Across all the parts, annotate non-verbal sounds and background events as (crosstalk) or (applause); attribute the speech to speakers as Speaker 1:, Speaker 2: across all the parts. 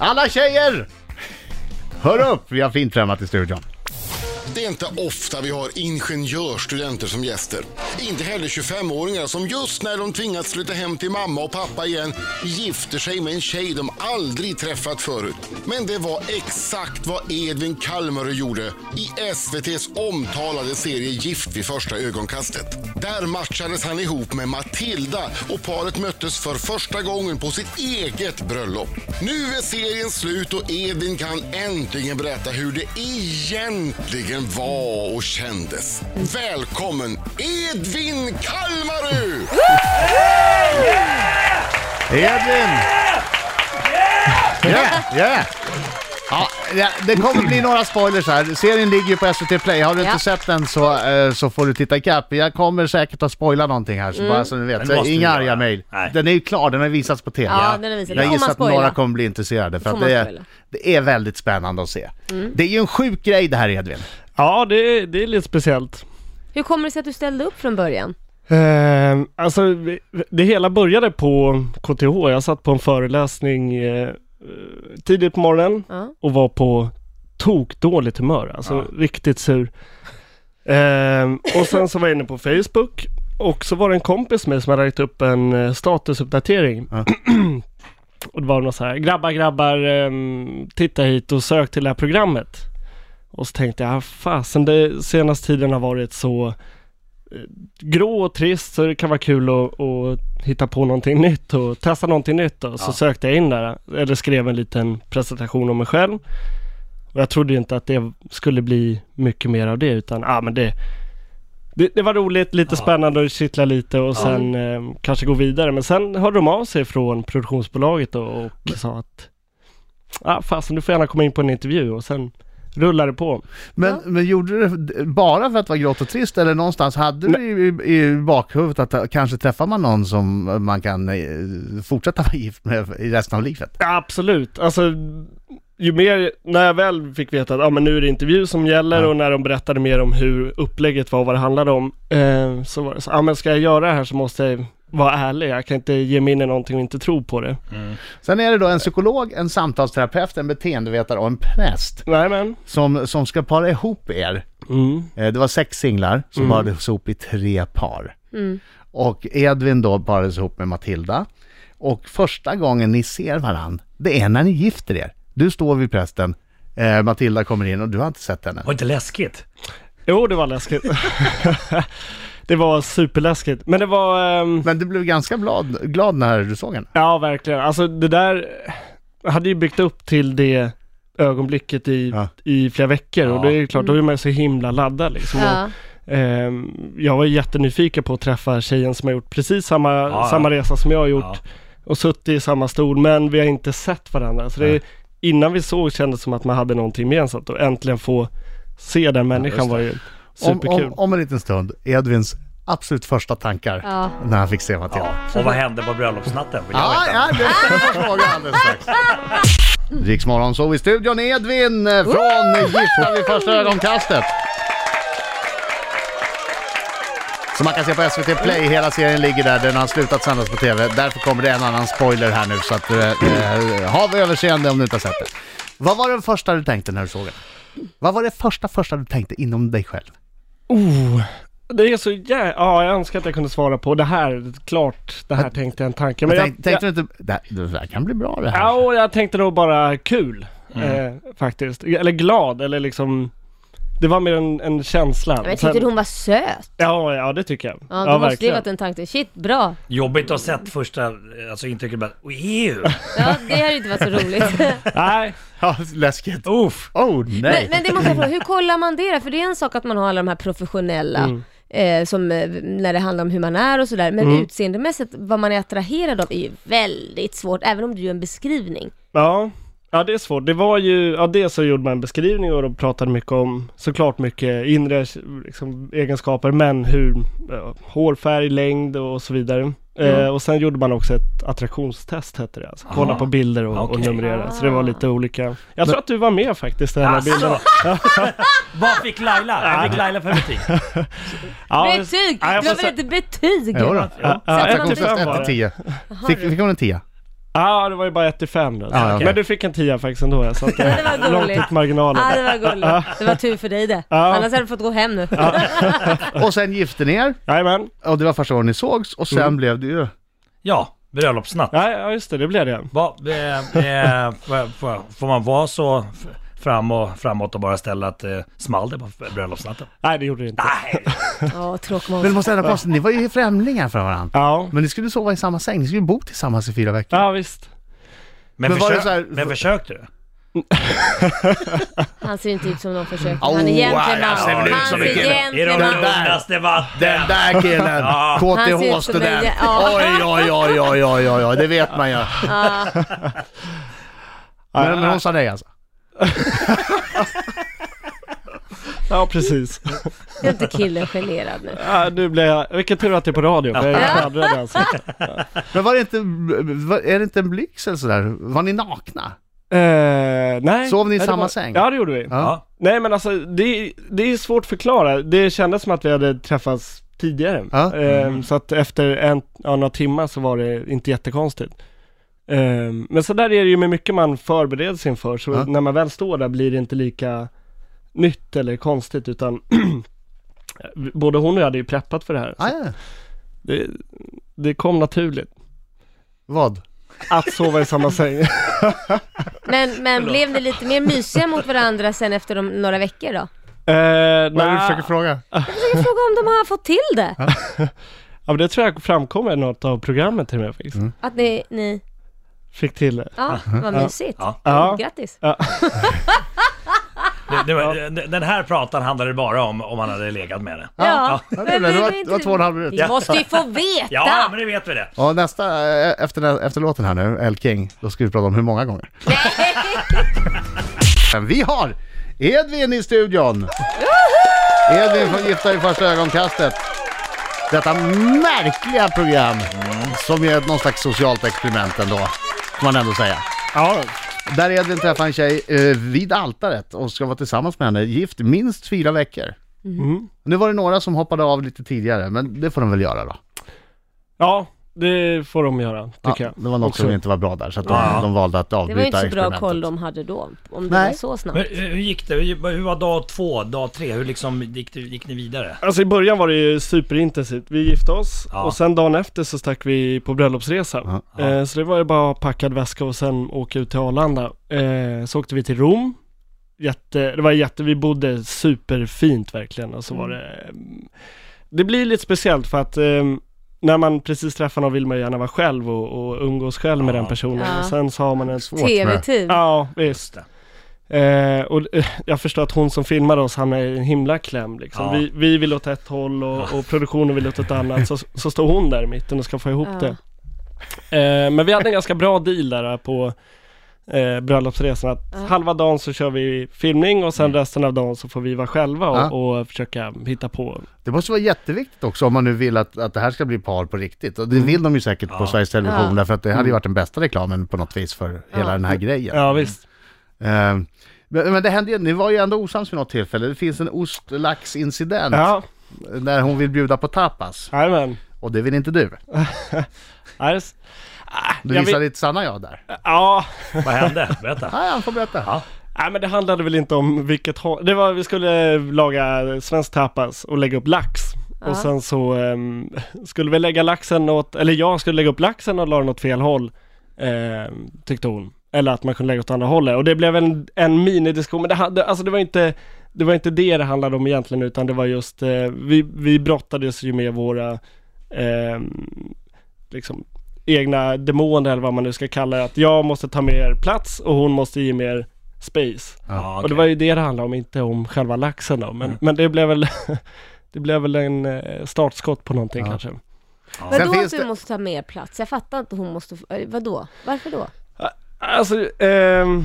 Speaker 1: Alla tjejer! Hör upp, vi har fint trimmat i studion.
Speaker 2: Det är inte ofta vi har ingenjörsstudenter som gäster. Inte heller 25-åringar som just när de tvingats flytta hem till mamma och pappa igen gifter sig med en tjej de aldrig träffat förut. Men det var exakt vad Edvin Kalmare gjorde i SVTs omtalade serie Gift vid första ögonkastet. Där matchades han ihop med Matilda och paret möttes för första gången på sitt eget bröllop. Nu är serien slut och Edvin kan äntligen berätta hur det egentligen var och kändes. Välkommen Edvin Kalmarud!
Speaker 1: Edvin! Yeah! Yeah! Ja, ja, det kommer bli några spoilers här. Serien ligger ju på SVT Play. Har du
Speaker 3: Ja.
Speaker 1: inte sett den så, eh, så får du titta ikapp. Jag kommer säkert att spoila någonting här, så bara
Speaker 3: Mm.
Speaker 1: så ni vet.
Speaker 4: Men det måste
Speaker 1: Inga
Speaker 4: du göra.
Speaker 1: arga mejl.
Speaker 4: Nej.
Speaker 1: Den är ju klar, den har visats på TV.
Speaker 3: Ja, den har visats. Får
Speaker 1: Jag gissar
Speaker 3: man
Speaker 1: att
Speaker 3: spoila?
Speaker 1: några kommer bli intresserade, för
Speaker 3: Får
Speaker 1: att
Speaker 3: man
Speaker 1: det, är,
Speaker 3: spoila? Mm.
Speaker 1: det är väldigt spännande att se. Det är ju en sjuk grej det här Edvin.
Speaker 4: Ja, det, är- det är lite speciellt.
Speaker 3: Hur kommer det sig att du ställde upp från början?
Speaker 4: Eh, alltså, vi- det hela började på KTH. Jag satt på en föreläsning eh, eh, tidigt på morgonen
Speaker 3: Ja.
Speaker 4: och var på tokdåligt humör. Alltså riktigt sur. Eh, och sen så var jag inne på Facebook och så var det en kompis med som hade lagt upp en eh, statusuppdatering.
Speaker 1: Ja.
Speaker 4: (clears throat) och det var något så här, grabbar, grabbar, eh, titta hit och sök till det här programmet. Och så tänkte jag, "Ah, fasen det senaste tiden har varit så eh, grå och trist så det kan vara kul att, att hitta på någonting nytt och testa någonting nytt då. Så
Speaker 1: Ja.
Speaker 4: sökte jag in där, eller skrev en liten presentation om mig själv. Och jag trodde ju inte att det skulle bli mycket mer av det utan, ah, men det, det, det var roligt, lite spännande och kittla lite och sen eh, kanske gå vidare. Men sen hörde de av sig från produktionsbolaget då och sa att ah, fasen du får gärna komma in på en intervju och sen rullar det på.
Speaker 1: Men, men gjorde du det bara för att vara grått och trist eller någonstans hade du i, i bakhuvudet att eh, kanske träffar man någon som man kan eh, fortsätta (laughs) vara gift med i resten av livet?
Speaker 4: Ja, absolut. Alltså, ju mer, när jag väl fick veta att ah, men nu är det intervju som gäller
Speaker 1: Ja.
Speaker 4: och när de berättade mer om hur upplägget var och vad det handlade om, eh, så var det så, ja ah, men ska jag göra det här så måste jag vara ärlig. Jag kan inte ge mig in i någonting och inte tro på det.
Speaker 1: Sen är det då en psykolog, en samtalsterapeut, en beteendevetare och en präst
Speaker 4: Nej men.
Speaker 1: som, som ska para ihop er.
Speaker 4: Mm.
Speaker 1: Eh, Det var sex singlar som parades ihop i tre par. Och Edvin då parades ihop med Matilda. Och första gången ni ser varann, det är när ni gifter er. Du står vid prästen, eh, Matilda kommer in och du har inte sett henne.
Speaker 5: Var inte läskigt?
Speaker 4: Jo, det var läskigt. (laughs) det var superläskigt. Men det var... ehm,
Speaker 1: Men du blev ganska glad, glad när du såg henne.
Speaker 4: Ja, verkligen. Alltså det där jag hade ju byggt upp till det ögonblicket i,
Speaker 1: Ja.
Speaker 4: i flera veckor och
Speaker 5: Ja.
Speaker 4: det är ju klart, då är man ju så himla laddad liksom.
Speaker 3: Ja.
Speaker 4: Och, ehm, jag var ju jättenyfiken på att träffa tjejen som har gjort precis samma,
Speaker 5: ja.
Speaker 4: samma resa som jag har gjort
Speaker 5: Ja.
Speaker 4: och suttit i samma stol, men vi har inte sett varandra. Så det,
Speaker 1: Nej.
Speaker 4: innan vi såg kändes det som att man hade någonting gemensamt och äntligen få se den människan var ju
Speaker 1: Om,
Speaker 4: superkul.
Speaker 1: om, om en liten stund, Edvins absolut första tankar
Speaker 3: Ja.
Speaker 1: när han fick se Matilda.
Speaker 5: Och vad hände på bröllopsnatten? Vill jag veta.
Speaker 1: ja, det ska jag fråga alldeles strax. (laughs) Riksmorgon så i studion Edvin eh, från Gifta vid första ögonkastet. Som man kan se på SVT Play, hela serien ligger där, den har slutat sändas på TV. Därför kommer det en annan spoiler här nu, så att, eh, eh, ha överseende om du inte har sett det. Vad var det första du tänkte när du såg den? Vad var det första, första du tänkte inom dig själv?
Speaker 4: Oh, det är så jä... Ja, jag önskar att jag kunde svara på det här. Klart, det här tänkte jag en tanke. Men jag,
Speaker 1: Tänk, tänkte du inte, det här, det här kan bli bra det
Speaker 4: jag,
Speaker 1: här.
Speaker 4: ja, och jag tänkte nog bara kul.
Speaker 5: Mm.
Speaker 4: Eh, faktiskt. Eller glad, eller liksom... Det var mer en, en känsla.
Speaker 3: Men jag tyckte
Speaker 4: Sen-
Speaker 3: du hon var söt?
Speaker 4: Ja, ja det tycker jag.
Speaker 3: Ja, då måste det varit en tanke. Shit, bra.
Speaker 5: Jobbigt att ha sett första alltså, intrycket bara "Oj, ew!
Speaker 3: Ja, det hade inte varit så
Speaker 1: (laughs)
Speaker 3: roligt.
Speaker 4: Nej,
Speaker 1: (laughs) Ja, läskigt.
Speaker 5: Uff!
Speaker 1: Oh nej!
Speaker 3: men, men det måste jag fråga, hur kollar man det då? För det är en sak att man har alla de här professionella,
Speaker 4: Mm.
Speaker 3: eh, som eh, när det handlar om hur man är och sådär. Men utseendemässigt, vad man är attraherad av är ju väldigt svårt, även om du gör en beskrivning.
Speaker 4: ja. Ja det är svårt. Det var ju, ja dels så gjorde man en beskrivning och de pratade mycket om såklart mycket inre liksom, egenskaper men hur, ja, hårfärg, längd och så vidare. Eh, och sen gjorde man också ett attraktionstest hette det. Alltså, kolla
Speaker 5: Ah.
Speaker 4: på bilder och, och
Speaker 5: Okej.
Speaker 4: numrera. Så det
Speaker 3: Ah.
Speaker 4: var lite olika. Jag tror att du var med faktiskt i den här bilden.
Speaker 5: Alltså! Vad fick Laila? Vad fick Laila för betyg?
Speaker 4: Ja,
Speaker 3: betyg!
Speaker 4: ja, jag
Speaker 3: du har
Speaker 4: får
Speaker 3: väl
Speaker 4: se-
Speaker 3: inte betyg?
Speaker 1: Jodå.
Speaker 4: Ja,
Speaker 3: Sätter
Speaker 4: ja,
Speaker 3: man
Speaker 4: ett till
Speaker 3: betyg?
Speaker 4: fem var det.
Speaker 1: 1-10. Fick, fick hon en 10?
Speaker 4: Ja, det var ju bara 1 till 5 då.
Speaker 1: Ja, okej.
Speaker 4: Men du fick en 10 faktiskt ändå.
Speaker 3: (laughs)
Speaker 4: Jag satt
Speaker 3: Det var
Speaker 4: långt
Speaker 3: gulligt.
Speaker 4: ut marginalen.
Speaker 3: Ja, det var gulligt. Det var tur för dig det.
Speaker 4: Ja.
Speaker 3: Annars hade du fått gå hem nu.
Speaker 1: Och sen gifte ni er,
Speaker 4: Jajamän.
Speaker 1: och det var första gången ni sågs, och sen blev det ju...
Speaker 5: Ja, bröllopsnatt.
Speaker 4: Ja, ja, just det. Det blev det.
Speaker 5: Va, eh, eh, får- får- får man vara så f- fram och framåt och bara ställa att eh, small det på bröllopsnatten?
Speaker 4: Nej, det gjorde det inte.
Speaker 5: Nej!
Speaker 3: Ja,
Speaker 1: Men
Speaker 3: tråkmåns.
Speaker 1: det måste ändå konstigt, ni var ju främlingar för varandra.
Speaker 4: Ja.
Speaker 1: Men ni skulle sova i samma säng, ni skulle bo tillsammans i fyra veckor.
Speaker 4: ja, visst.
Speaker 5: Men,
Speaker 1: Men var det
Speaker 5: försök,
Speaker 1: så här-
Speaker 5: men försökte du?
Speaker 3: Han ser inte ut som någon försöker.
Speaker 1: Oh,
Speaker 3: Han är gentleman.
Speaker 1: jag ser väl ut
Speaker 3: Han
Speaker 1: som en
Speaker 3: är
Speaker 1: kille.
Speaker 5: I de
Speaker 1: Den
Speaker 3: gentleman.
Speaker 1: där.
Speaker 5: lugnaste vatten!
Speaker 1: Den där killen!
Speaker 5: Ja.
Speaker 3: Han ser ut som en
Speaker 1: KTH-student!
Speaker 3: jä- ja.
Speaker 1: Oj, oj, oj, oj, oj, oj, oj, det vet man ju.
Speaker 3: Ja,
Speaker 1: Men, men hon sa nej alltså?
Speaker 4: Ja, precis.
Speaker 3: är inte killen generad nu?
Speaker 4: Ja, nu blev jag... Vilken tur att det är på radio, för jag är skadad
Speaker 3: (laughs)
Speaker 4: alltså.
Speaker 1: Men var det inte, var- är det inte en blix eller sådär? Var ni nakna?
Speaker 4: Eh, nej.
Speaker 1: Sov ni i
Speaker 4: Nej, det
Speaker 1: samma
Speaker 4: var-
Speaker 1: säng?
Speaker 4: Ja, det gjorde vi.
Speaker 5: Ja.
Speaker 4: Nej, men alltså det, det är svårt att förklara. Det kändes som att vi hade träffats tidigare.
Speaker 1: Ja.
Speaker 4: Ehm, Så att efter en, ja, några timmar så var det inte jättekonstigt. Ehm, men så där är det ju med mycket man förbereder sig inför. Så
Speaker 1: Ja.
Speaker 4: när man väl står där blir det inte lika nytt eller konstigt utan (clears throat) både hon och jag hade ju preppat för det här.
Speaker 1: Ah, ja.
Speaker 4: Det, det kom naturligt.
Speaker 1: Vad?
Speaker 4: Att sova i
Speaker 1: (laughs)
Speaker 4: samma säng.
Speaker 3: Men, men blev ni lite mer mysiga mot varandra sen efter de, några veckor då?
Speaker 4: Ehm,
Speaker 1: Vad är det du
Speaker 4: nja.
Speaker 1: försöker fråga?
Speaker 3: Jag frågar om de har fått till det?
Speaker 4: Ja, men det tror jag framkommer i något av programmet till och med faktiskt.
Speaker 1: Mm.
Speaker 3: Att ni, ni
Speaker 4: Fick till det.
Speaker 3: ja, vad mysigt.
Speaker 5: Ja.
Speaker 4: Ja.
Speaker 3: Grattis.
Speaker 5: Det, det var, den- Den här pratan handlade bara om om han hade legat med det.
Speaker 3: Ja,
Speaker 1: Ja, det blev det. Det var- det var två och en halv minut.
Speaker 3: Vi måste ju få veta!
Speaker 5: Ja, men det vet vi det.
Speaker 1: Ja, nästa, eh, efter, nä- efter låten här nu, El King, då ska vi prata om hur många gånger. Men vi har Edvin i studion! Edvin från Gifta i första ögonkastet. Detta märkliga program som är ett- någon slags socialt experiment ändå, får man ändå säga.
Speaker 4: Ja,
Speaker 1: Där Edvin träffar en tjej eh, vid altaret och ska vara tillsammans med henne, gift minst fyra veckor. Nu var det några som hoppade av lite tidigare, men det får de väl göra då.
Speaker 4: ja det får de göra tycker
Speaker 1: ja,
Speaker 4: jag.
Speaker 1: det var något
Speaker 4: Också.
Speaker 1: som inte var bra där, så att de,
Speaker 5: Ja.
Speaker 1: de valde att
Speaker 3: Det
Speaker 1: avbryta
Speaker 3: var ju inte så bra
Speaker 1: experimentet.
Speaker 3: koll de hade då, om det
Speaker 1: Nej.
Speaker 3: var så snabbt.
Speaker 5: Men eh, hur hur gick det? Hur hur var dag två, dag tre? Hur liksom gick, det, gick ni vidare?
Speaker 4: Alltså i början var det ju superintensivt. Vi gifte oss
Speaker 5: Ja.
Speaker 4: och sen dagen efter så stack vi på bröllopsresa.
Speaker 1: Ja,
Speaker 4: Eh, så det var ju bara packad väska och sen åka ut till Arlanda. Eh, så åkte vi till Rom. Jätte, det var jätte, vi bodde superfint verkligen och så var
Speaker 1: Mm.
Speaker 4: det mm, Det blir lite speciellt för att eh, när man precis träffar någon vill man ju gärna vara själv och, och umgås själv med
Speaker 5: Ja.
Speaker 4: den personen.
Speaker 3: Ja.
Speaker 4: Och sen så har man en
Speaker 1: Svårt med-
Speaker 3: TV-tid.
Speaker 4: Ja, visst. Eh, och eh, jag förstår att hon som filmade oss, han är i en himla kläm liksom.
Speaker 5: Ja.
Speaker 4: Vi, vi vill åt ett håll och, och produktionen vill åt ett annat. Så, så står hon där i mitten och ska få ihop
Speaker 3: Ja.
Speaker 4: det. Eh, men vi hade en ganska bra deal där på eh, bröllopsresan. Att halva dagen så kör vi filmning och sen resten av dagen så får vi vara själva och,
Speaker 1: Ja.
Speaker 4: och försöka hitta på.
Speaker 1: Det måste vara jätteviktigt också om man nu vill att, att det här ska bli par på riktigt. Och det vill de ju säkert på
Speaker 5: Ja.
Speaker 1: Sveriges Television
Speaker 3: Ja.
Speaker 1: därför att det hade ju varit den bästa reklamen på något vis för hela
Speaker 3: Ja.
Speaker 1: den här grejen.
Speaker 4: Ja, visst.
Speaker 1: Eh, men, men det hände ju, ni var ju ändå osams vid något tillfälle. Det finns en ost-lax-incident
Speaker 4: Ja,
Speaker 1: där hon vill bjuda på tapas.
Speaker 4: jajamän.
Speaker 1: Och det vill inte du.
Speaker 4: Ja, det-
Speaker 1: Du
Speaker 4: Jag
Speaker 1: visar
Speaker 4: vet-
Speaker 1: ditt sanna jag där.
Speaker 4: Ja,
Speaker 5: Vad
Speaker 4: (laughs)
Speaker 5: hände? Berätta.
Speaker 1: Ja, han får berätta.
Speaker 5: Ja.
Speaker 4: Nej men det handlade väl inte om vilket håll. Det var, vi skulle laga svensk tapas och lägga upp lax.
Speaker 3: Ja.
Speaker 4: Och sen så ehm, skulle vi lägga laxen åt, eller jag skulle lägga upp laxen och la den åt fel håll. ehm, tyckte hon. Eller att man kunde lägga åt andra hållet. Och det blev en, en minidiskussion. Men det, hade, alltså det var inte det var inte det det handlade om egentligen utan det var just, eh, vi, vi brottades ju med våra ehm, liksom, egna demoner eller vad man nu ska kalla det. Att jag måste ta mer plats och hon måste ge mer space.
Speaker 5: Ja,
Speaker 4: Och det
Speaker 5: okej.
Speaker 4: var ju det det handlade om, inte om själva laxen då.
Speaker 1: Mm.
Speaker 4: Men, men det blev väl (laughs) Det blev väl en eh, startskott på någonting kanske.
Speaker 1: Sen
Speaker 3: Vadå
Speaker 1: finns
Speaker 3: att du
Speaker 1: det-
Speaker 3: måste ta mer plats? Jag fattar inte, hon måste... eh, Vadå? Varför då?
Speaker 4: Alltså, ehm,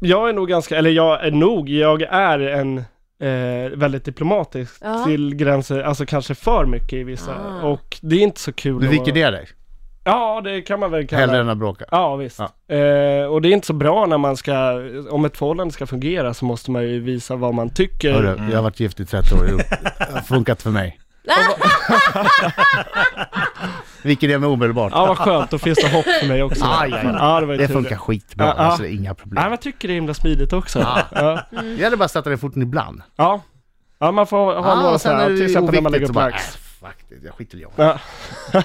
Speaker 4: jag är nog ganska, eller jag är nog, jag är en eh, väldigt diplomatisk
Speaker 3: Ja.
Speaker 4: till gränser, alltså kanske för mycket i vissa.
Speaker 3: Ah.
Speaker 4: Och det är inte så kul
Speaker 1: Du
Speaker 4: att
Speaker 1: viker
Speaker 4: vara-
Speaker 1: ner dig,
Speaker 4: Ja, det kan man väl kalla
Speaker 1: hellre
Speaker 4: det.
Speaker 1: än att bråka.
Speaker 4: Ja, visst. Eh, och det är inte så bra när man ska, om ett förhållande ska fungera så måste man ju visa vad man tycker.
Speaker 1: Hörru, jag har varit gift i 30 år, det har funkat för mig. Vilket är med omedelbart.
Speaker 4: Ja, vad skönt. Då finns det hopp för mig också.
Speaker 1: Aj, aj, aj.
Speaker 4: Ja, det var ju
Speaker 1: Det
Speaker 4: tur
Speaker 1: funkar skitbra,
Speaker 4: Ja, ja.
Speaker 1: alltså det är inga
Speaker 4: Nej, men
Speaker 1: problem.
Speaker 4: jag tycker det är himla smidigt också.
Speaker 1: Ja.
Speaker 4: Ja.
Speaker 1: Jag hade bara satt den i foten ibland.
Speaker 4: Ja. ja, man får ha
Speaker 1: Ja,
Speaker 4: några
Speaker 1: och Ah, sen
Speaker 4: sådana,
Speaker 1: är
Speaker 4: till
Speaker 1: det
Speaker 4: exempel när man lägger
Speaker 1: oviktigt så äh.
Speaker 4: upp
Speaker 1: bara,
Speaker 4: lax.
Speaker 1: äh, fuck det, jag skiter i det.
Speaker 4: Ja,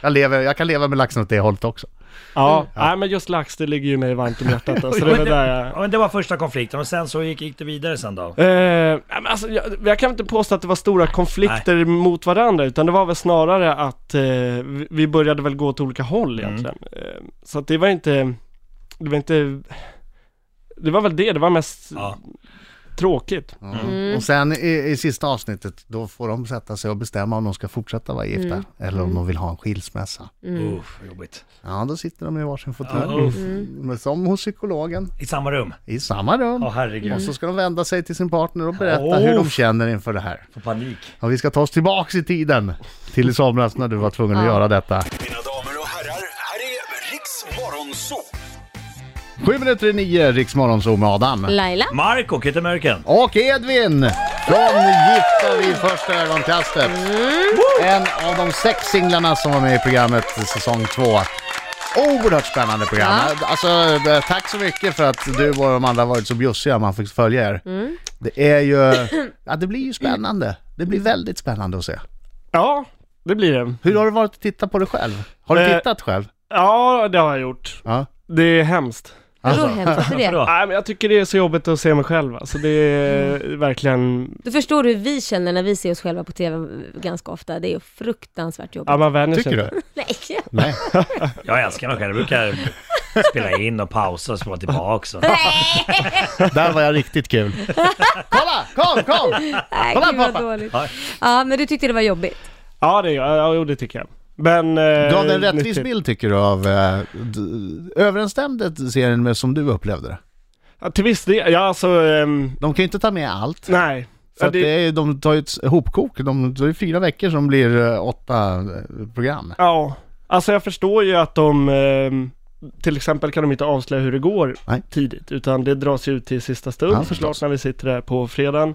Speaker 1: Jag, lever, jag kan leva med laxen åt det hållet också. Mm.
Speaker 4: ja. Nej, men just lax det ligger ju mig varmt om
Speaker 1: (laughs)
Speaker 4: hjärtat. Så det är väl där jag...
Speaker 5: Ja, men det var första konflikten och sen så gick, gick det vidare sen då?
Speaker 4: Eh, nej, men alltså, jag, jag kan inte påstå att det var stora konflikter mot varandra utan det var väl snarare att eh, vi- vi började väl gå åt olika håll
Speaker 1: Mm.
Speaker 4: egentligen. Eh, så att det var inte, det var inte, det var väl det, det var mest
Speaker 5: Ja.
Speaker 4: tråkigt.
Speaker 1: Och sen i, i sista avsnittet, då får de sätta sig och bestämma om de ska fortsätta vara gifta
Speaker 4: Mm.
Speaker 1: eller om de vill ha en skilsmässa.
Speaker 5: Uff, jobbigt.
Speaker 1: Ja, då sitter de i varsin
Speaker 5: Ja,
Speaker 1: fåtölj. Mm.
Speaker 5: uff.
Speaker 1: Men Som hos psykologen,
Speaker 5: I samma rum?
Speaker 1: i samma rum.
Speaker 5: Ja, herregud.
Speaker 1: Och så ska de vända sig till sin partner och berätta
Speaker 5: Åh.
Speaker 1: hur de känner inför det här.
Speaker 5: Får panik.
Speaker 1: Och vi ska ta oss tillbaks i tiden, till i somras när du var tvungen att göra detta.
Speaker 6: Mina damer och herrar, här är Riks Morgonzoo!
Speaker 1: Sju minuter i nio, Riks Morgonzoo med Adam.
Speaker 3: Laila?
Speaker 5: Marco, Kitty Mörken.
Speaker 1: Och Edvin! Från Gifta vid första ögonkastet. En av de sex singlarna som var med i programmet säsong två. Oerhört spännande program. Alltså, eh, tack så mycket för att du och de andra varit så bjussiga man fick följa er. Det är ju... Ja, det blir ju spännande. Det blir väldigt spännande att se.
Speaker 4: Ja, det blir det.
Speaker 1: Hur har det varit att titta på det själv? Har du
Speaker 4: Eh,
Speaker 1: tittat själv?
Speaker 4: Ja, det har jag gjort.
Speaker 1: Ja.
Speaker 4: Det är hemskt.
Speaker 1: Alltså.
Speaker 3: Vadå hemskt? Varför
Speaker 5: Varför
Speaker 3: det?
Speaker 5: då?
Speaker 4: Nej, men jag tycker det är så jobbigt att se mig själv alltså, det är
Speaker 1: Mm.
Speaker 4: verkligen,
Speaker 3: Då förstår du hur vi känner när vi ser oss själva på TV ganska ofta. Det är ju fruktansvärt jobbigt.
Speaker 4: ja man vänjer sig
Speaker 1: Tycker
Speaker 4: inte.
Speaker 1: du?
Speaker 3: Nej,
Speaker 1: Nej.
Speaker 5: Jag älskar mig själv. Jag brukar spela in och pausa och spela tillbaka. Och...
Speaker 1: Där var jag riktigt kul. Kolla! Kom, kom!
Speaker 3: nej
Speaker 1: Kolla,
Speaker 3: gud vad
Speaker 1: pappa.
Speaker 3: dåligt. Ja, men du tyckte det var jobbigt.
Speaker 4: Ja, det gör jag. Ja, jo, det tycker jag. Men... eh,
Speaker 1: Gav det en rättvis
Speaker 4: nyttigt.
Speaker 1: bild tycker du av... Eh, d- överensstämde serien med som du upplevde det?
Speaker 4: Ja, till viss del. Ja, alltså... ehm,
Speaker 1: De kan ju inte ta med allt.
Speaker 4: nej.
Speaker 1: För
Speaker 4: Ja,
Speaker 1: att det är, de tar ju ett hopkok. De tar ju fyra veckor som blir eh, åtta eh, program.
Speaker 4: Ja. Alltså jag förstår ju att de... ehm, till exempel kan de inte avslöja hur det går
Speaker 1: Nej.
Speaker 4: tidigt. Utan det dras ju ut till sista stund
Speaker 1: Ja,
Speaker 4: såklart
Speaker 1: förstås.
Speaker 4: när vi sitter där på fredagen.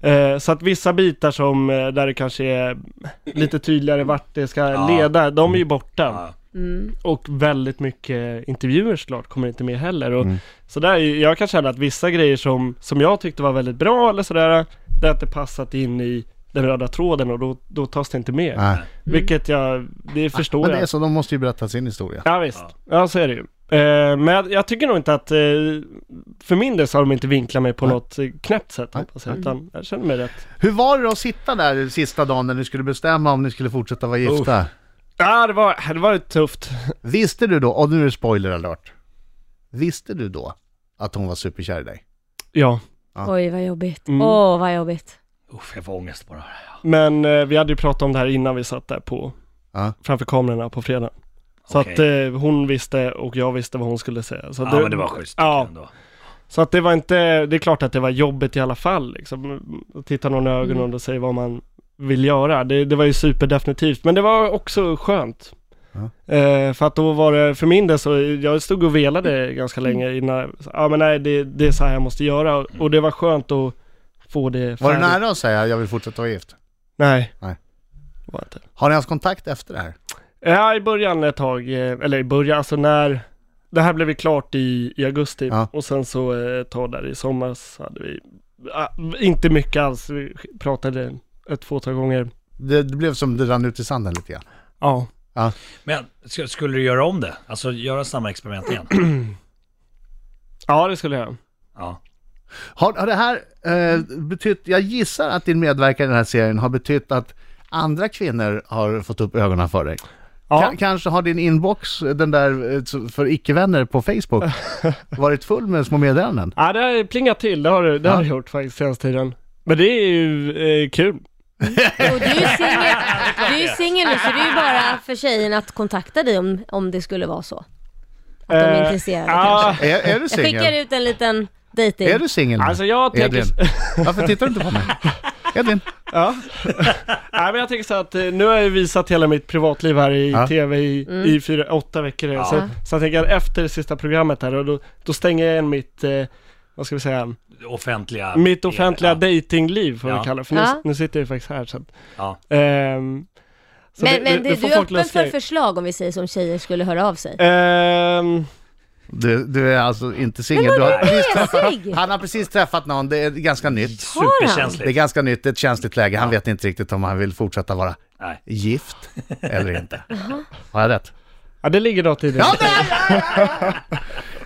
Speaker 4: Eh, så att vissa bitar som, eh, där det kanske är lite tydligare vart det ska
Speaker 5: Ja.
Speaker 4: leda, de är
Speaker 1: Mm.
Speaker 4: ju borta.
Speaker 5: Ja.
Speaker 3: Mm.
Speaker 4: Och väldigt mycket intervjuer såklart kommer inte med heller.
Speaker 1: Mm.
Speaker 4: Och så där, är ju- jag kan känna att vissa grejer som, som jag tyckte var väldigt bra eller sådär, det har inte passat in i den röda tråden och då, då tas det inte med.
Speaker 1: Nej.
Speaker 4: Vilket jag, det förstår
Speaker 1: Men det är
Speaker 4: jag.
Speaker 1: så, de måste ju berätta sin historia.
Speaker 4: Ja visst, ja. så är det ju. Eh, men jag, jag tycker nog inte att, eh, för min del så har de inte vinklat mig på
Speaker 1: Nej.
Speaker 4: något eh, knäppt sätt
Speaker 1: Nej.
Speaker 4: hoppas jag, utan jag känner mig rätt.
Speaker 1: Hur var det att sitta där sista dagen när ni skulle bestämma om ni skulle fortsätta vara gifta?
Speaker 4: Ja det var, det var ju tufft.
Speaker 1: Visste du då, och nu är det spoiler alert. Visste du då att hon var superkär i dig?
Speaker 4: Ja.
Speaker 3: Oj, vad jobbigt. Åh,
Speaker 4: Mm.
Speaker 3: vad jobbigt.
Speaker 5: Uff, jag får ångest bara.
Speaker 4: Men eh, vi hade ju pratat om det här innan vi satt där på,
Speaker 1: Ja.
Speaker 4: framför kamerorna på fredag. Så
Speaker 5: Okej.
Speaker 4: att eh, hon visste och jag visste vad hon skulle säga. Så att
Speaker 5: Ja, men det var schysst.
Speaker 4: Ja,
Speaker 5: Ändå.
Speaker 4: så att det var inte, det är klart att det var jobbigt i alla fall liksom. Att titta någon i
Speaker 1: Mm.
Speaker 4: ögonen och säga vad man vill göra. Det, det var ju superdefinitivt, men det var också skönt. Eh, för att då var det, för min del så, jag stod och
Speaker 1: Mm.
Speaker 4: velade ganska länge innan, jag- ja men nej det, det är så här jag måste göra och, och det var skönt att få det
Speaker 1: Var du
Speaker 4: färdigt.
Speaker 1: nära att säga jag vill fortsätta vara gift?
Speaker 4: Nej.
Speaker 1: Nej.
Speaker 4: Det Var inte.
Speaker 1: Har ni haft kontakt efter det här?
Speaker 4: Ja, i början ett tag, eh, eller i början, alltså när det här blev ju klart i, i augusti
Speaker 1: Ja.
Speaker 4: och sen så eh, ett tag där i sommar så hade vi, ah, inte mycket alls, vi pratade ett fåtal gånger.
Speaker 1: Det, det blev som det rann ut i sanden lite grann.
Speaker 4: Ja.
Speaker 5: Men sk- skulle du göra om det? Alltså göra samma experiment
Speaker 4: (clears throat)
Speaker 5: igen?
Speaker 4: Ja, det skulle jag.
Speaker 5: Ja.
Speaker 1: Har, har det här eh, betytt, jag gissar att din medverkan i den här serien har betytt att andra kvinnor har fått upp ögonen för dig.
Speaker 4: Ja,
Speaker 1: Ka- kanske har din inbox, den där eh, så- för icke-vänner på
Speaker 4: (laughs)
Speaker 1: Facebook, varit full med små meddelanden.
Speaker 4: ja det har plingat till, det har det, det har det gjort faktiskt senaste tiden. Men det är ju eh, kul.
Speaker 3: Och du är ju singel- du är ju singel nu, så det är ju bara för tjejen att kontakta dig om, om det skulle vara så. Att de är
Speaker 4: Eh,
Speaker 3: intresserade
Speaker 4: Ja,
Speaker 3: kanske.
Speaker 1: Är, är du
Speaker 3: Jag skickar
Speaker 1: singel?
Speaker 3: ut en liten dating.
Speaker 1: Är du singel? nu?
Speaker 4: alltså jag tänker...
Speaker 1: Edvin, varför tittar du inte
Speaker 4: (laughs)
Speaker 1: på mig? Edvin,
Speaker 4: Ja. (laughs) Nej, men jag tänker så att eh, nu har jag ju visat hela mitt privatliv här i
Speaker 1: Ja.
Speaker 4: tv i,
Speaker 3: Mm.
Speaker 4: i fyra, åtta veckor. Så, så jag tänker att efter det sista programmet här, och då, då stänger jag igen mitt, eh, vad ska vi säga,
Speaker 5: Det Offentliga...
Speaker 4: mitt offentliga
Speaker 5: Ja.
Speaker 4: datingliv får vi
Speaker 5: Ja.
Speaker 4: kalla det. För nu,
Speaker 3: Ja.
Speaker 4: nu sitter jag ju faktiskt här. Så, att,
Speaker 5: Ja.
Speaker 4: ehm, Så
Speaker 3: Men,
Speaker 4: det-
Speaker 3: men
Speaker 4: det-
Speaker 3: det,
Speaker 4: det får
Speaker 3: du är
Speaker 4: folk Eh,
Speaker 3: öppen
Speaker 4: luska
Speaker 3: för
Speaker 4: ut.
Speaker 3: förslag om vi säger som tjejer skulle höra av sig?
Speaker 4: Ehm,
Speaker 1: Du, du är alltså inte singel. Du har precis
Speaker 3: mesig?
Speaker 1: träffat, han har precis träffat någon, det är ganska nytt.
Speaker 3: Har han?
Speaker 1: Det är
Speaker 5: Superkänsligt.
Speaker 1: ganska nytt, det är ett känsligt läge. Han vet inte riktigt om han vill fortsätta vara
Speaker 5: Nej.
Speaker 1: gift eller inte. Har jag rätt?
Speaker 4: ja, det ligger något i det.
Speaker 1: Ja,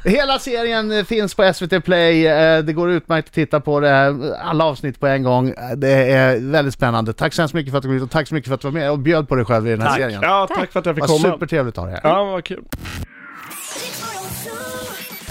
Speaker 1: Hela serien eh, finns på SVT Play. Eh, Det går utmärkt att titta på det. Alla avsnitt på en gång. Eh, Det är väldigt spännande. Tack så hemskt mycket för att du kom hit och tack så mycket för att du var med och bjöd på dig själv i den här
Speaker 5: Tack.
Speaker 1: serien.
Speaker 4: ja tack för att jag fick
Speaker 1: Vad
Speaker 4: komma.
Speaker 1: supertrevligt att ha dig här.
Speaker 4: Ja, vad kul.
Speaker 7: Rick 102.